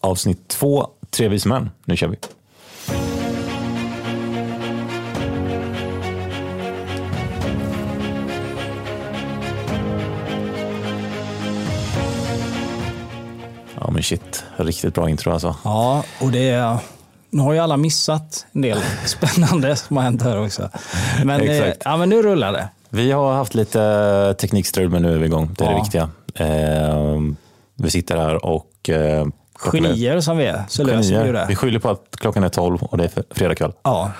avsnitt två, Tre vise män. Nu kör vi. Ja men shit, riktigt bra intro alltså. Ja, och det är... Nu har ju alla missat en del spännande som har hänt här också. Men, eh, Exakt. ja, men nu rullar det. Vi har haft lite eh, teknikstrul men nu är vi igång. Det är det Ja. viktiga. Ehm, vi sitter här och... Eh, klockan är- Genier som vi är, så löser vi ju Genier. Vi det. skyller på att klockan är 12 och det är f- fredag kväll. Ja,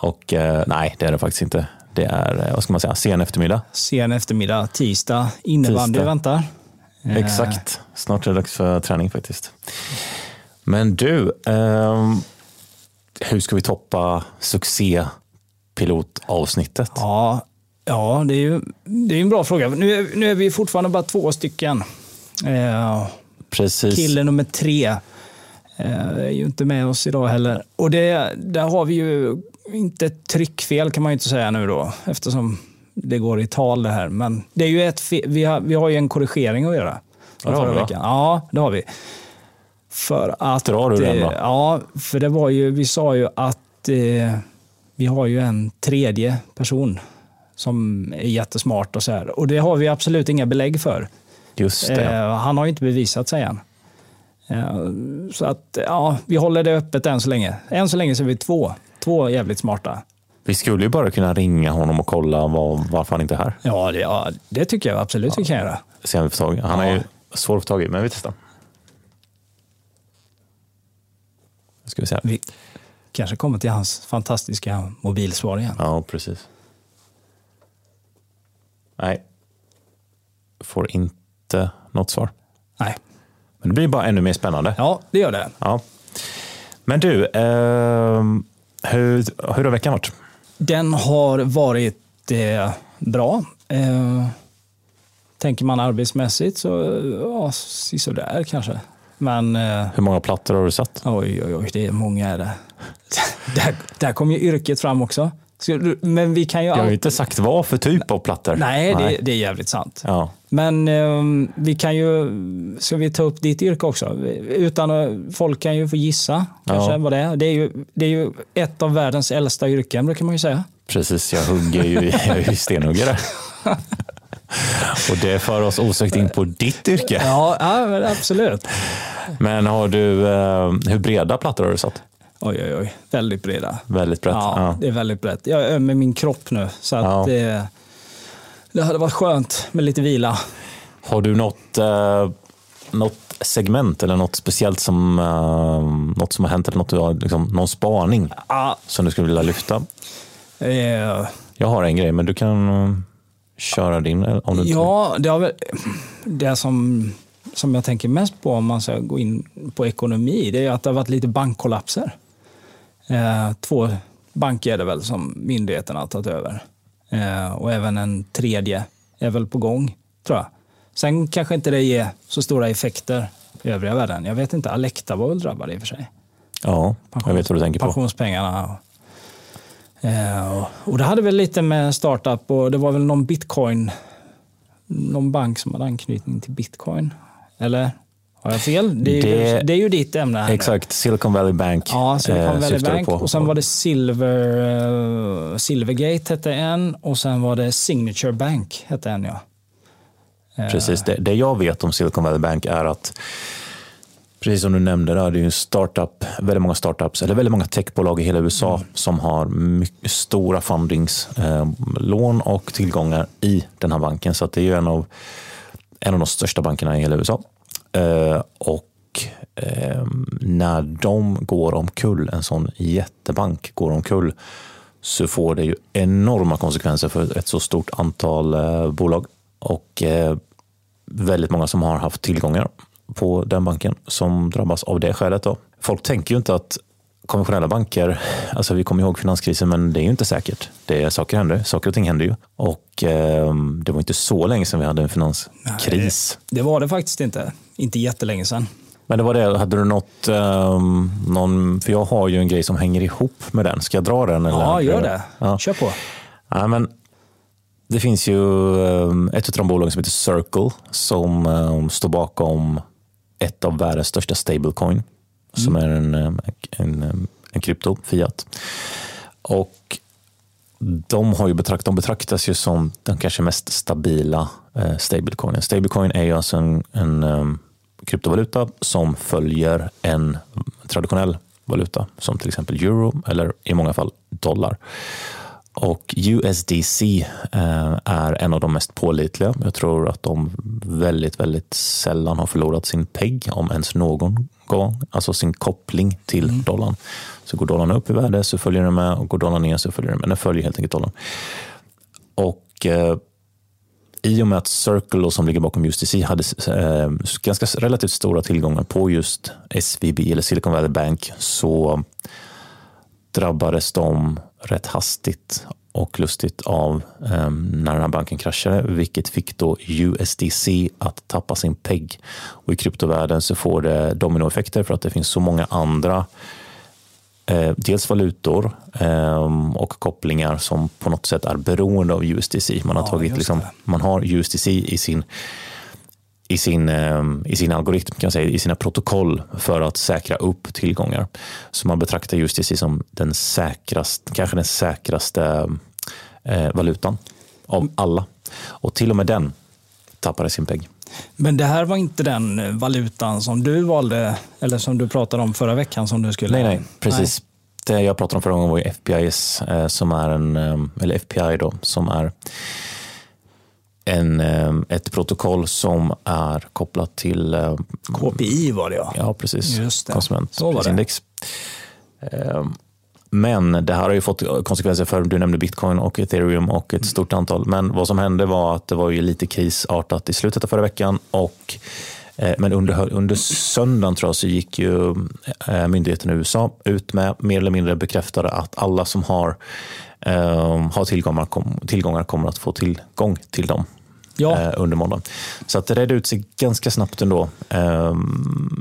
Och eh, nej, det är det faktiskt inte. Det är, eh, vad ska man säga, sen eftermiddag. sen eftermiddag, tisdag, innebandy Tisdag. väntar. Eh, Exakt. Snart är det dags för träning faktiskt. Men du, ehm, hur ska vi toppa succépilotavsnittet? Ja, ja det är ju det är ju en bra fråga. Nu är, nu är vi fortfarande bara två stycken. Eh, Precis. Kille nummer tre eh, är ju inte med oss idag heller. Och det, där har vi ju inte ett tryckfel kan man ju inte säga nu då, eftersom det går i tal det här. Men det är ju ett fe- vi, har, vi har ju en korrigering att göra. Ja, det har Förra vi, va? veckan. Ja, det har vi. För att... Drar du den eh, då? Ja, för det var ju, vi sa ju att eh, vi har ju en tredje person som är jättesmart och så här. Och det har vi absolut inga belägg för. Just det. Eh, han har ju inte bevisat sig än. Eh, så att, ja, vi håller det öppet än så länge. Än så länge så är vi två. Två jävligt smarta. Vi skulle ju bara kunna ringa honom och kolla var, varför han inte är här. Ja, det, ja, det tycker jag absolut vi kan göra. Se om vi får tag i. Han är ju svår att få tag i, men vi testar. Nu ska vi se. här. Vi kanske kommer till hans fantastiska mobilsvar igen. Ja, precis. Nej. Får inte något svar. Nej. Men det blir bara ännu mer spännande. Ja, det gör det. Ja. Men du, ehm, hur, hur har veckan varit? Den har varit eh, bra. Eh, tänker man arbetsmässigt så, eh, ja, sisådär kanske. Men eh, Hur många plattor har du satt? Oj, oj, oj, det är många är det. Där, där kom ju yrket fram också. Så du- Men vi kan ju... Jag har ju All... inte sagt vad för typ av plattor. Nej, det, det är jävligt sant. Ja. Men ehm, vi kan ju... Ska vi ta upp ditt yrke också? Utan, att- folk kan ju få gissa kanske Ja. vad det är. Det är, ju, det är ju ett av världens äldsta yrken, brukar man ju säga. Precis, jag hugger ju, jag är ju stenhuggare. Och det för oss osökt in på ditt yrke. Ja, ja men absolut. Men har du, eh, hur breda plattor har du satt? Oj, oj, oj. Väldigt breda. Väldigt brett. Ja, Ja. det är väldigt brett. Jag är öm i min kropp nu, så att Ja. eh, det hade varit skönt med lite vila. Har du något, eh, något segment eller något speciellt som, eh, något som har hänt eller något du har, liksom, någon spaning Ja, som du skulle vilja lyfta? Eh, Jag har en grej, men du kan eh, köra din eh, om du inte vill. ja, det, har väl, det som, som jag tänker mest på om man ska gå in på ekonomi, det är att det har varit lite bankkollapser. Eh, två banker är det väl som myndigheterna har tagit över. Eh, och även en tredje är väl på gång, tror jag. Sen kanske inte det ger så stora effekter i övriga världen. Jag vet inte, Alecta var väl drabbad i och för sig. Ja, jag vet vad du tänker på. pensionspengarna. Eh, och- Och det hade väl lite med startup och det var väl någon bitcoin, någon bank som hade anknytning till bitcoin. Eller har jag fel? Det är, Det- Ju, det är ju ditt ämne. Här nu. Exakt, Silicon Valley Bank Ja, Silicon eh, Valley syftar du Bank på. och sen var det Silver, eh, Silvergate hette en och sen var det Signature Bank hette en ja. Precis, det, det jag vet om Silicon Valley Bank är att Precis som du nämnde, där, det är ju en startup, väldigt många startups, eller väldigt många techbolag i hela USA som har mycket stora fundingslån eh, lån och tillgångar i den här banken. Så att det är ju en av, en av de största bankerna i hela USA. Eh, och eh, när de går omkull, en sån jättebank går omkull, så får det ju enorma konsekvenser för ett så stort antal eh, bolag. Och eh, väldigt många som har haft tillgångar på den banken som drabbas av det skälet. Då. Folk tänker ju inte att konventionella banker, alltså vi kommer ihåg finanskrisen, men det är ju inte säkert. Det är, saker händer, saker och ting händer ju. Och eh, det var inte så länge sedan vi hade en finanskris. Det var det faktiskt inte. Inte jättelänge sedan. Men det var det, hade du något, eh, någon, för jag har ju en grej som hänger ihop med den. Ska jag dra den? Eller? Ja, gör det. Ja. Kör på. Ja, men det finns ehm, ju eh, ett av de bolag som heter Circle som eh, står ehm, bakom ett av världens största stablecoin som är en, en, en, ehm, en krypto, fiat. Och de, har ju betrakt, de betraktas ju som den kanske mest stabila eh, stablecoinen. Stablecoin är ju alltså en, en em, kryptovaluta som följer en traditionell valuta som till exempel euro eller i många fall dollar. Och USDC eh, är en av de mest pålitliga. Jag tror att de väldigt, väldigt sällan har förlorat sin PEG, om ens någon gång, alltså sin koppling till dollarn. Så går dollarn upp i värde så följer den med och går dollarn ner så följer den med. Den följer helt enkelt dollarn. Och eh, i och med att Circle då, som ligger bakom USDC hade eh, ganska s- relativt stora tillgångar på just SVB eller Silicon Valley Bank så drabbades de rätt hastigt och lustigt av eh, när den här banken kraschade, vilket fick då USDC att tappa sin PEG. Och I kryptovärlden så får det dominoeffekter för att det finns så många andra eh, dels valutor ehm, och kopplingar som på något sätt är beroende av USDC. Man har, Ja, tagit, just liksom, det. man har USDC i sin i sin, ehm, i sin algoritm, kan jag säga, i sina protokoll för att säkra upp tillgångar. Så man betraktar USDC som den säkraste, kanske den säkraste eh, valutan av alla. Och till och med den tappade sin peng. Men det här var inte den eh, valutan som du valde, eller som du pratade om förra veckan som du skulle... Nej, nej, precis. Det jag pratade om förra gången var ju FBIS, eh, som är en, eh, eller FPI då, som är en, eh, ett protokoll som är kopplat till eh, KPI var det ja. Ja, precis. Just det. Konsumentprisindex. Ehm, Men det här har ju fått konsekvenser för, du nämnde bitcoin och ethereum och ett stort antal. Men vad som hände var att det var ju lite krisartat i slutet av förra veckan. Och, eh, men under, hö- under söndagen tror jag så gick ju eh, myndigheten i USA ut med mer eller mindre bekräftade att alla som har, ehm, har tillgångar, kom, tillgångar kommer att få tillgång till dem Ja, eh, under måndagen. Så att det redde ut sig ganska snabbt ändå eh,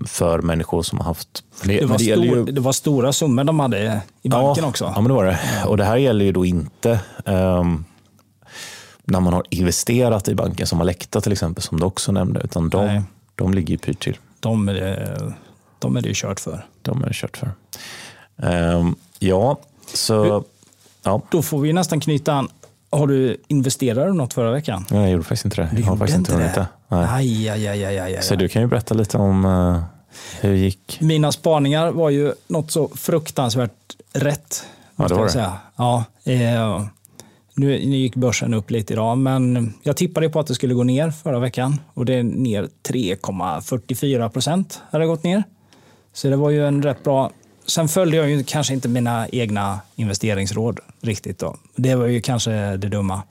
för människor som har haft... för det, var men gäller stor, det var stora summor de hade i banken ja, också. Ja, men det var det. Och det här gäller ju då inte ehm, när man har investerat i banken som Alecta till exempel, som du också nämnde, utan Nej. de, de ligger ju pyrt till. De, är det- de är det ju kört för. De är det kört för. Ehm, ja, så... Ja, Då får vi nästan knyta an. Har du investerat i något förra veckan? jag gjorde faktiskt inte det. Jag har gjorde faktiskt inte inte hunnit det? det. Nej. Aj, aj, aj, aj, aj, aj. Så du kan ju berätta lite om eh, hur det gick. Mina spaningar var ju något så fruktansvärt rätt. Ja, måste det var jag det. Säga. Ja, eh, nu, nu gick börsen upp lite idag, men jag tippade på att det skulle gå ner förra veckan och det är ner 3,44 procent har det gått ner. Så det var ju en rätt bra... Sen följde jag ju kanske inte mina egna investeringsråd riktigt. Då. Det var ju kanske det dumma.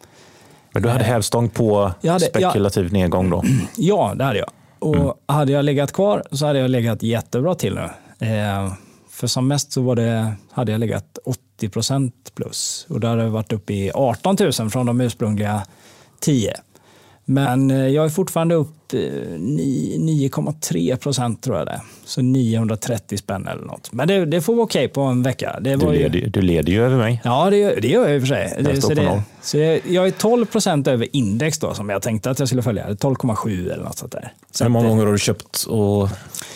Men du hade hävstång på Jag hade- spekulativ nedgång då? Ja, det hade jag. Och hade jag legat kvar så hade jag legat jättebra till nu. Eh, för som mest så var det, hade jag legat 80 procent plus. Och där har jag varit uppe i 18 000 från de ursprungliga 10. Men eh, jag är fortfarande upp eh, ni- 9,3 procent tror jag det är. Så 930 spänn eller något. Men det, det får vara okej på en vecka. Det Du var ju... leder, ju- du leder ju över mig. Ja, det gör, det gör jag i och för sig. Det, står så på noll. det, så jag, jag är 12 procent över index då, som jag tänkte att jag skulle följa. 12,7 eller något sånt där. Så Hur att många det- gånger har du köpt och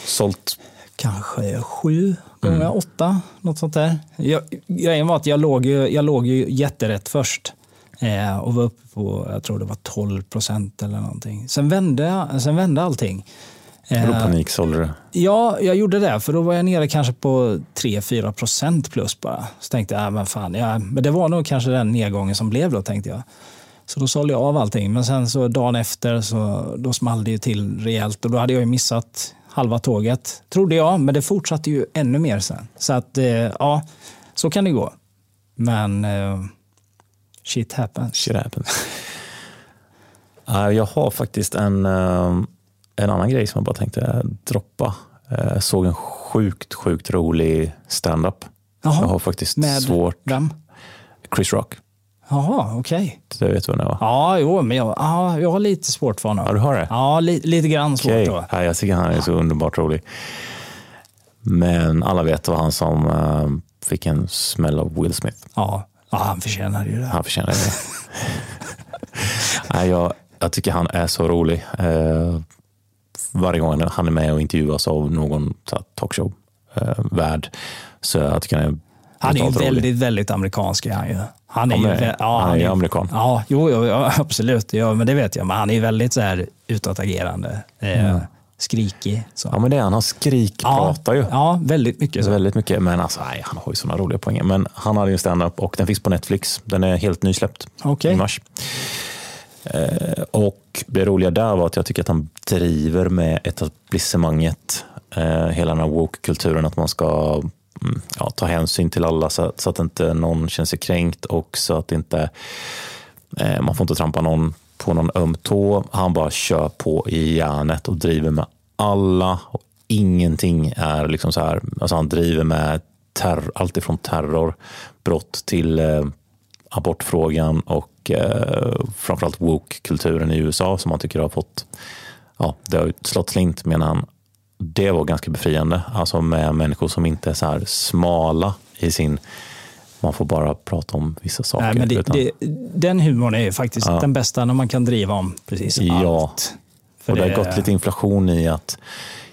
sålt? Kanske sju Mm. gånger åtta, något sånt där. Jag, grejen var att jag låg ju, jag låg ju jätterätt först eh, och var uppe på, jag tror det var 12 procent eller någonting. Sen vände, sen vände allting. Då Eh, paniksålde du. Ja, jag gjorde det, för då var jag nere kanske på 3-4 procent plus bara. Så tänkte jag, äh, men fan, ja, men det var nog kanske den nedgången som blev då, tänkte jag. Så då sålde jag av allting, men sen så dagen efter så då small det ju till rejält och då hade jag ju missat halva tåget, trodde jag, men det fortsatte ju ännu mer sen. Så att, eh, ja, så kan det gå. Men eh, shit happens. Shit happens. Eh, Jag har faktiskt en, eh, en annan grej som jag bara tänkte droppa. Eh, Jag såg en sjukt, sjukt rolig stand-up. Jaha. Jag har faktiskt Med- svårt. Vem? Chris Rock. Jaha, okej. Du vet vem det var? Ja, jo, men jag, ja, jag har lite svårt för honom. Ja, du har det? Ja, li, lite grann svårt Okej, då. ja, jag tycker han är så underbart rolig. Men alla vet det var han som eh, fick en smäll av Will Smith. Ja, ja han förtjänar ju det. Han förtjänar det. Nej, jag, jag tycker han är så rolig. Eh, varje gång han är med och intervjuas av någon så här, talkshow-värd. Så jag tycker han är Han är ju brutalt rolig. väldigt, väldigt amerikansk. Är han, ju. han är Han ju är- vä- han är ju ju- amerikan. Ja, jo, jo, ja, absolut. Ja, men det vet jag. Men han är ju väldigt så här utåtagerande. Eh, Skrikig. Så. Ja, men det är Mm. han. Han skrikpratar ju. ja, väldigt Så mycket så. väldigt mycket, men alltså, nej, han har ju såna roliga poänger. Men han hade ju en stand-up och den finns på Netflix. Den är helt nysläppt Okej. i mars. Eh, och det roliga där var att jag tycker att han driver med etablissemanget, eh, hela den här woke-kulturen, att man ska mm, ja, ta hänsyn till alla så, att- så att inte någon känner sig kränkt och så att inte eh, man får inte trampa någon på någon öm tå. Han bara kör på i järnet och driver med alla. Och ingenting är liksom så här. Alltså han driver med terror, allt ifrån terrorbrott till eh, abortfrågan och eh, framförallt woke-kulturen i USA som han tycker har fått, ja, det har ju slått slint menar han. Det var ganska befriande, alltså med människor som inte är så här smala i sin, man får bara prata om vissa saker. Nej, men det, utan- det, den humorn är ju faktiskt den bästa när man kan driva om precis Ja. allt. För och det, det- har gått lite inflation i att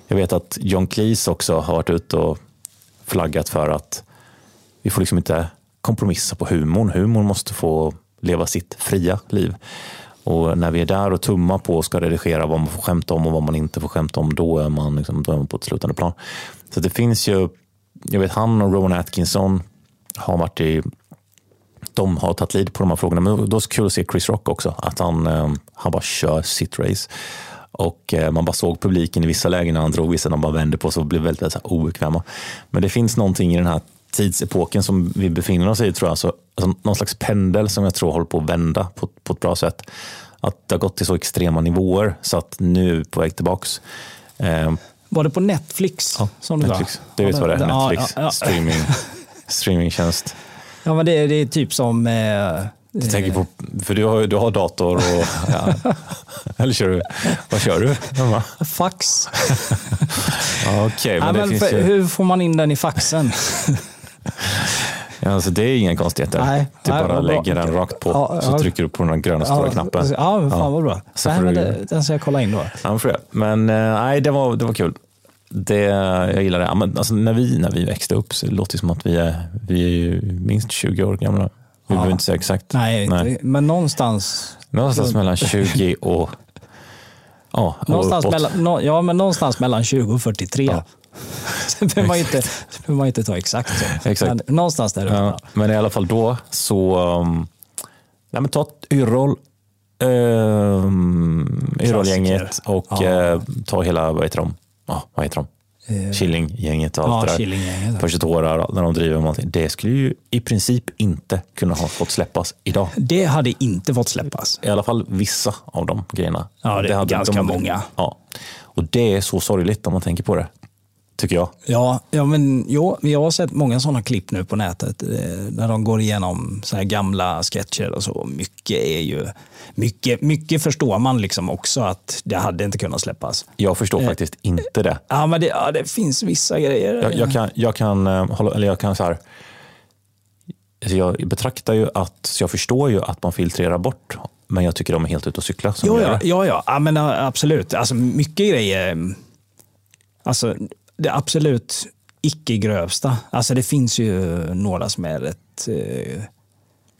jag vet att John Cleese också har varit ute och flaggat för att vi får liksom inte kompromissa på humorn. Humorn måste få leva sitt fria liv. Och när vi är där och tummar på och ska redigera vad man får skämta om och vad man inte får skämta om, då är man, liksom, då är man på ett slutande plan. Så det finns ju, jag vet han och Rowan Atkinson har varit i de har tagit lid på de här frågorna. Men då är det så kul att se Chris Rock också, att han, eh, han bara kör sitt race. Och eh, man bara såg publiken i vissa lägen när han drog, vissa när han bara vände på sig och blev väldigt, väldigt så här obekväma. Men det finns någonting i den här tidsepoken som vi befinner oss i, tror jag. Så, alltså, någon slags pendel som jag tror håller på att vända på, på ett bra sätt. Att det har gått till så extrema nivåer så att nu är vi på väg tillbaks. Eh, Var det på Netflix? ja, som du Netflix. sa? Du vet Ja, vad det är, ja, Netflix, ja, ja. streaming, streamingtjänst. Ja, men det, det är typ som... Eh, Du tänker på, för du har, ju- du har dator och... Ja. Eller kör du? Vad kör du? Ja, fax. Okej, Ja, men det men finns för, ju... Hur får man in den i faxen? Ja, Alltså, det är inga konstigheter. Nej, du nej, bara vad bra. lägger den rakt på, Ja, så ja. trycker du på den gröna stora knappen. Ja, men fan vad bra. Så Nej, får men du- det, den ska jag kolla in då. Ja, men får jag. Men eh, nej, det var, det var kul. Det, jag gillar det. Ja, men, alltså, när, vi, när vi växte upp så låter det som att vi är, vi är ju minst 20 år gamla. Vi behöver inte säga exakt. Nej, inte- men någonstans, Någonstans mellan 20 och... Ja, och någonstans, uppåt. mellan, nå- ja, men någonstans mellan 20 och 43. Ja. Sen behöver man ju inte, sen behöver man ju inte ta exakt så. Exakt. Men någonstans där Ja, men i alla fall då så... Um, nej men ta ett Yrrol, um, Yrrol-gänget Klassiker. och Ja. eh, ta hela, vad heter de? Ja, vad heter de? Eh, Killinggänget och ja, allt det Killinggänget. där. Första tårar, när de driver om allting. Det skulle ju i princip inte kunna ha fått släppas idag. Det hade inte fått släppas. I alla fall vissa av de grejerna. Ja, det är ganska många. Ja. Och det är så sorgligt om man tänker på det, tycker jag. Ja, ja men jo, jag har sett många sådana klipp nu på nätet eh, där de går igenom så här gamla sketcher och så. Mycket är ju, mycket, mycket förstår man liksom också att det hade inte kunnat släppas. Jag förstår Eh. faktiskt inte det. Ja, men det, ja, det finns vissa grejer. jag, jag kan, jag kan eh, hålla, eller jag kan så här, alltså jag betraktar ju att, så jag förstår ju att man filtrerar bort, men jag tycker de är helt ute och cyklar som Jo, gör ja, det. ja, ja. ja men, ä, absolut. Alltså, mycket grejer. mm, Alltså, det absolut icke grövsta. Alltså, det finns ju några som är rätt... eh,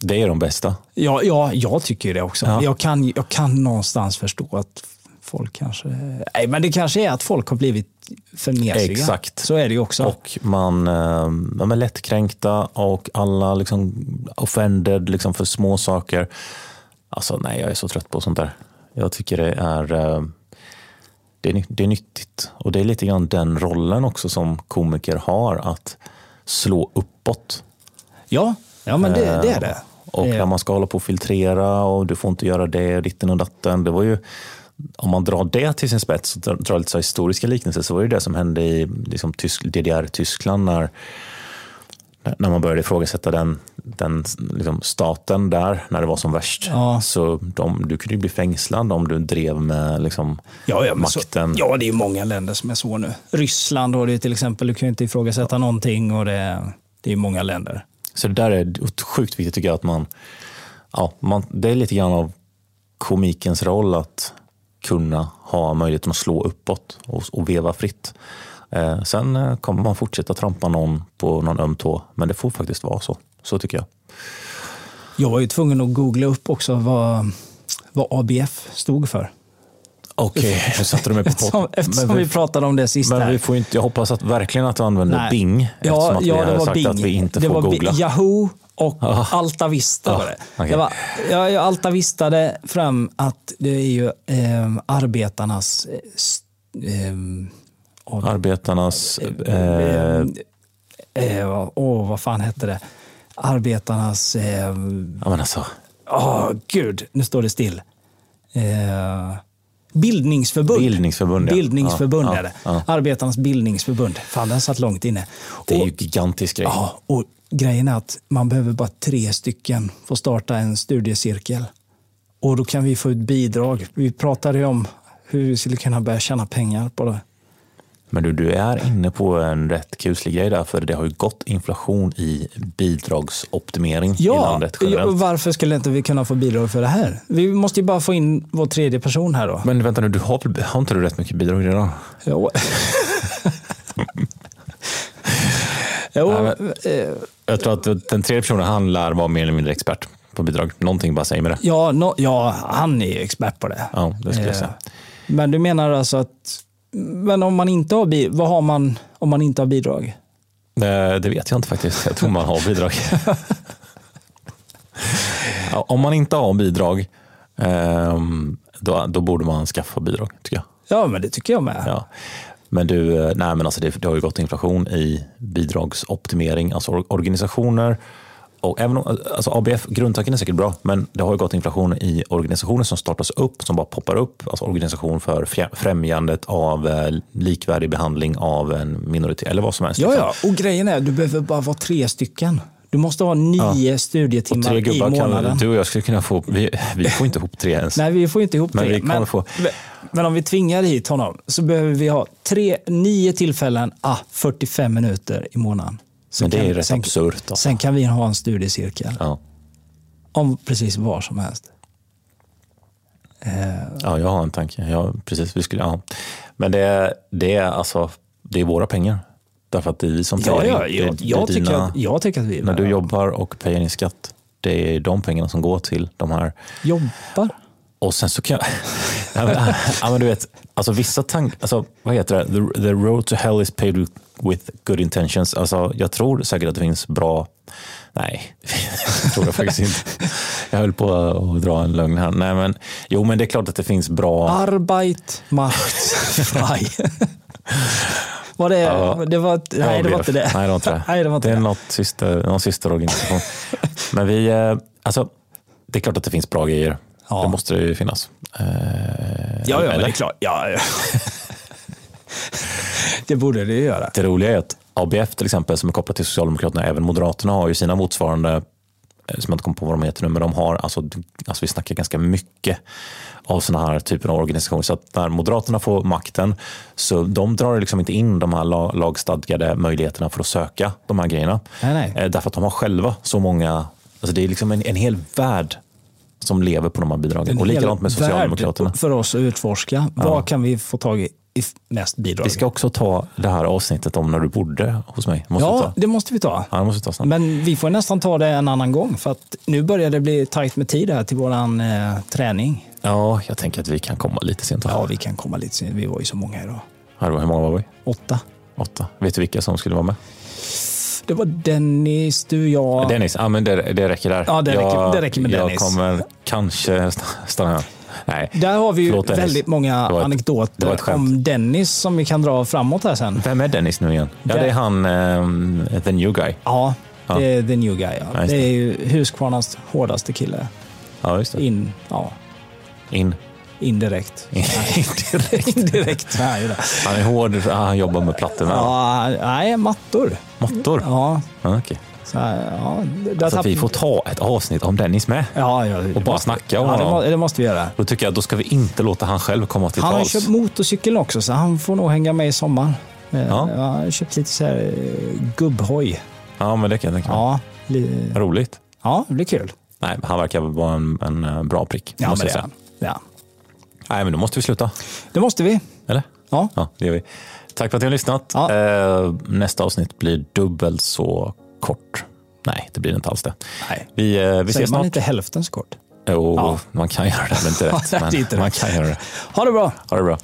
Det är de bästa. Ja, ja jag tycker ju det också. Ja. Jag, kan, jag kan någonstans förstå att folk kanske... Nej, men det kanske är att folk har blivit för mesiga. Exakt. Så är det ju också. Och man eh, de är lättkränkta och alla liksom offended liksom för små saker. Alltså nej, jag är så trött på sånt där. Jag tycker det är, eh, det är, ny- det är nyttigt. Och det är lite grann den rollen också som komiker har, att slå uppåt. ja, ja, men det, det är det. Och Eh, när man ska hålla på och filtrera och du får inte göra det och ditten och datten. Det var ju, om man drar det till sin spets, så drar jag lite så här historiska liknelser, så var det ju det som hände i liksom, Tysk- DDR-Tyskland när, när man började ifrågasätta den, den liksom, staten där, när det var som värst. Ja. Så de, du kunde ju bli fängslad om du drev med liksom, Ja, ja, men makten. Så, ja, det är ju många länder som är så nu. Ryssland har det ju till exempel. Du kan ju inte ifrågasätta någonting och det, det är ju många länder. Så det där är sjukt viktigt tycker jag. att man, ja, man Det är lite grann av komikens roll att kunna ha möjligheten att slå uppåt och, och veva fritt. Eh, sen eh, kommer man fortsätta trampa någon på någon öm tå, men det får faktiskt vara så. Så tycker jag. Jag var ju tvungen att googla upp också vad, vad ABF stod för. Okej, nu satte du mig på Eftersom, eftersom Men vi- vi pratade om det sist Men vi här. får inte, jag hoppas att verkligen att du använder Nej. Bing. eftersom att vi hade sagt att vi inte det får var Bing. googla. Yahoo och Alta Vista Ja, var det. okej. Jag, var, jag, jag Alta Vistade fram att det är ju eh, arbetarnas eh, s- ehm, av- Arbetarnas... Eh, eh, vad- åh, vad fan hette det? Arbetarnas... eh, ja, men alltså, Åh, gud, nu står det still. Eh, bildningsförbund. Bildningsförbund, ja. Bildningsförbund Ja, är det. ja, Arbetarnas bildningsförbund. Fan, den satt långt inne. det är Och- ju gigantisk grej. Ja, och grejen är att man behöver bara tre stycken för att starta en studiecirkel. Och då kan vi få ut bidrag. Vi pratade ju om hur vi skulle kunna börja tjäna pengar på det. Men du, du är inne på en rätt kuslig grej där, för det har ju gått inflation i bidragsoptimering i landet ja, och generellt. varför skulle inte vi kunna få bidrag för det här? Vi måste ju bara få in vår tredje person här då. Men vänta nu, du har, väl- har inte du rätt mycket bidrag redan? Jo, jo Nej, eh, Jag tror att den tredje personen, han lär vara mer eller mindre expert på bidrag. Någonting bara säger med det. ja, nå- ja, han är ju expert på det. Ja, det skulle jag Eh, säga. Men du menar alltså att, men om man inte har, bi- vad har man om man inte har bidrag? Eh, Det vet jag inte faktiskt. Jag tror man har bidrag. Ja, Om man inte har bidrag, ehm, då, då borde man skaffa bidrag tycker jag. Ja, men det tycker jag med. Ja. Men du, eh, nej men alltså det, det har ju gått inflation i bidragsoptimering, alltså or- organisationer och även om, alltså ABF, grundtanken är säkert bra, men det har ju gått inflation i organisationer som startas upp, som bara poppar upp, alltså organisation för fjä- främjandet av eh, likvärdig behandling av en minoritet eller vad som helst. Ja, liksom. ja. Och grejen är, du behöver bara vara tre stycken. Du måste ha nio Och tre studietimmar i gubbar månaden. kan, du och jag skulle kunna få, vi, vi får inte ihop tre ens. Nej, vi får ju inte ihop Men tre. vi kommer få- men om vi tvingar hit honom så behöver vi ha tre, nio tillfällen, ah, 45 minuter i månaden. Sen Men det är kan- rätt sen, absurt. Alltså. Sen kan vi ha en studiecirkel Ja. om precis vad som helst. ja, jag har en tanke. Ja, precis, vi skulle, ja. Men det, det, är alltså, det är våra pengar. Därför att det är vi som Ja, in. ja, Det är- jag, det är jag, tycker dina- att, jag tycker att vi När du jobbar och pejar in skatt, det är de pengarna som går till de här jobbar. Och sen så kan jag... ja, men, ja, men du vet, alltså vissa tankar... Alltså, vad heter det? The, the road to hell is paved with, with good intentions. Alltså, jag tror säkert att det finns bra... Nej, det tror jag faktiskt inte. Jag höll på att dra en lögn här. Nej, men, jo, men det är klart att det finns bra... Arbeit macht frei. Var det, Ja. det var, ett- nej, det var ABF. inte det. Nej, det var inte det. Nej, det var inte är det. Något syster, någon systerorganisation. men vi... eh, Alltså, det är klart att det finns bra grejer. Ja. Det måste det ju finnas. Eh, Ja, ja, men eller? det är klart. Ja, ja. det borde det ju göra. Det roliga är att ABF till exempel, som är kopplat till Socialdemokraterna, även Moderaterna har ju sina motsvarande, eh, som jag inte kommer på vad de heter nu, men de har, alltså, alltså vi snackar ganska mycket av sådana här typer av organisationer. Så att när Moderaterna får makten, så de drar liksom inte in de här la- lagstadgade möjligheterna för att söka de här grejerna. Nej, nej. Eh, Därför att de har själva så många, alltså det är liksom en, en hel värld som lever på de här bidragen. Och likadant med En hel värld Socialdemokraterna. För oss att utforska. Vad kan vi få tag i, i f- mest bidrag? Vi ska också ta det här avsnittet om när du bodde hos mig. Måste vi ja, ta. det måste vi ta. Ja, det måste vi ta snabbt. Men vi får nästan ta det en annan gång för att nu börjar det bli tajt med tid här till våran eh, träning. Ja, jag tänker att vi kan komma lite sent. Ja, Ja. vi kan komma lite sen. Vi var ju så många idag. Hur många var vi? Åtta. Åtta. Vet du vilka som skulle vara med? Det var Dennis, du, jag. Dennis, ja, men det, det räcker där. Ja, det räcker- det räcker med jag Dennis. Jag kommer kanske st- stanna här. Nej. Där har vi ju Förlåt, Dennis. väldigt många Det var ett- det var ett anekdoter skämt. om Dennis som vi kan dra framåt här sen. Vem är Dennis nu igen? Ja, Det- det är han, ehm, the new guy. Ja, Ja. det är the new guy. Ja. Ja, just det det. är ju Huskvarnas hårdaste kille. Ja, just det. In, ja, In. indirekt. In. indirekt. Nej, det. Han är hård, ah, han jobbar med plattor med Ja, nej, mattor. mattor. Ja. Ja, okej. så här, ja. Där Alltså, tapp- vi får ta ett avsnitt om Dennis med ja, ja, det och bara måste- snacka om ja, det, honom. må, det måste vi göra. Då tycker jag då ska vi inte låta han själv komma till Han har ju tals. köpt motorcykel också, så han får nog hänga med i sommar. Eh, Ja. Han har köpt lite så här eh, gubbhoj. Ja, men det kan jag tänka mig. Ja, li- Roligt. ja, det blir kul. Nej, han verkar vara en, en eh, bra prick. Ja, måste men jag det är säga. han. Ja. Nej, men då måste vi sluta. Det måste vi. Eller? Ja. Ja, det gör vi. Tack för att ni har lyssnat. Ja. Eh, Nästa avsnitt blir dubbelt så kort. Nej, det blir det inte alls det. Nej. Vi, eh, vi ses Säger man snart. inte hälften så kort? Jo, Ja. man kan göra det, men inte rätt. Nej, det är Men inte man rätt. kan göra det. Ha det bra! Ha det bra.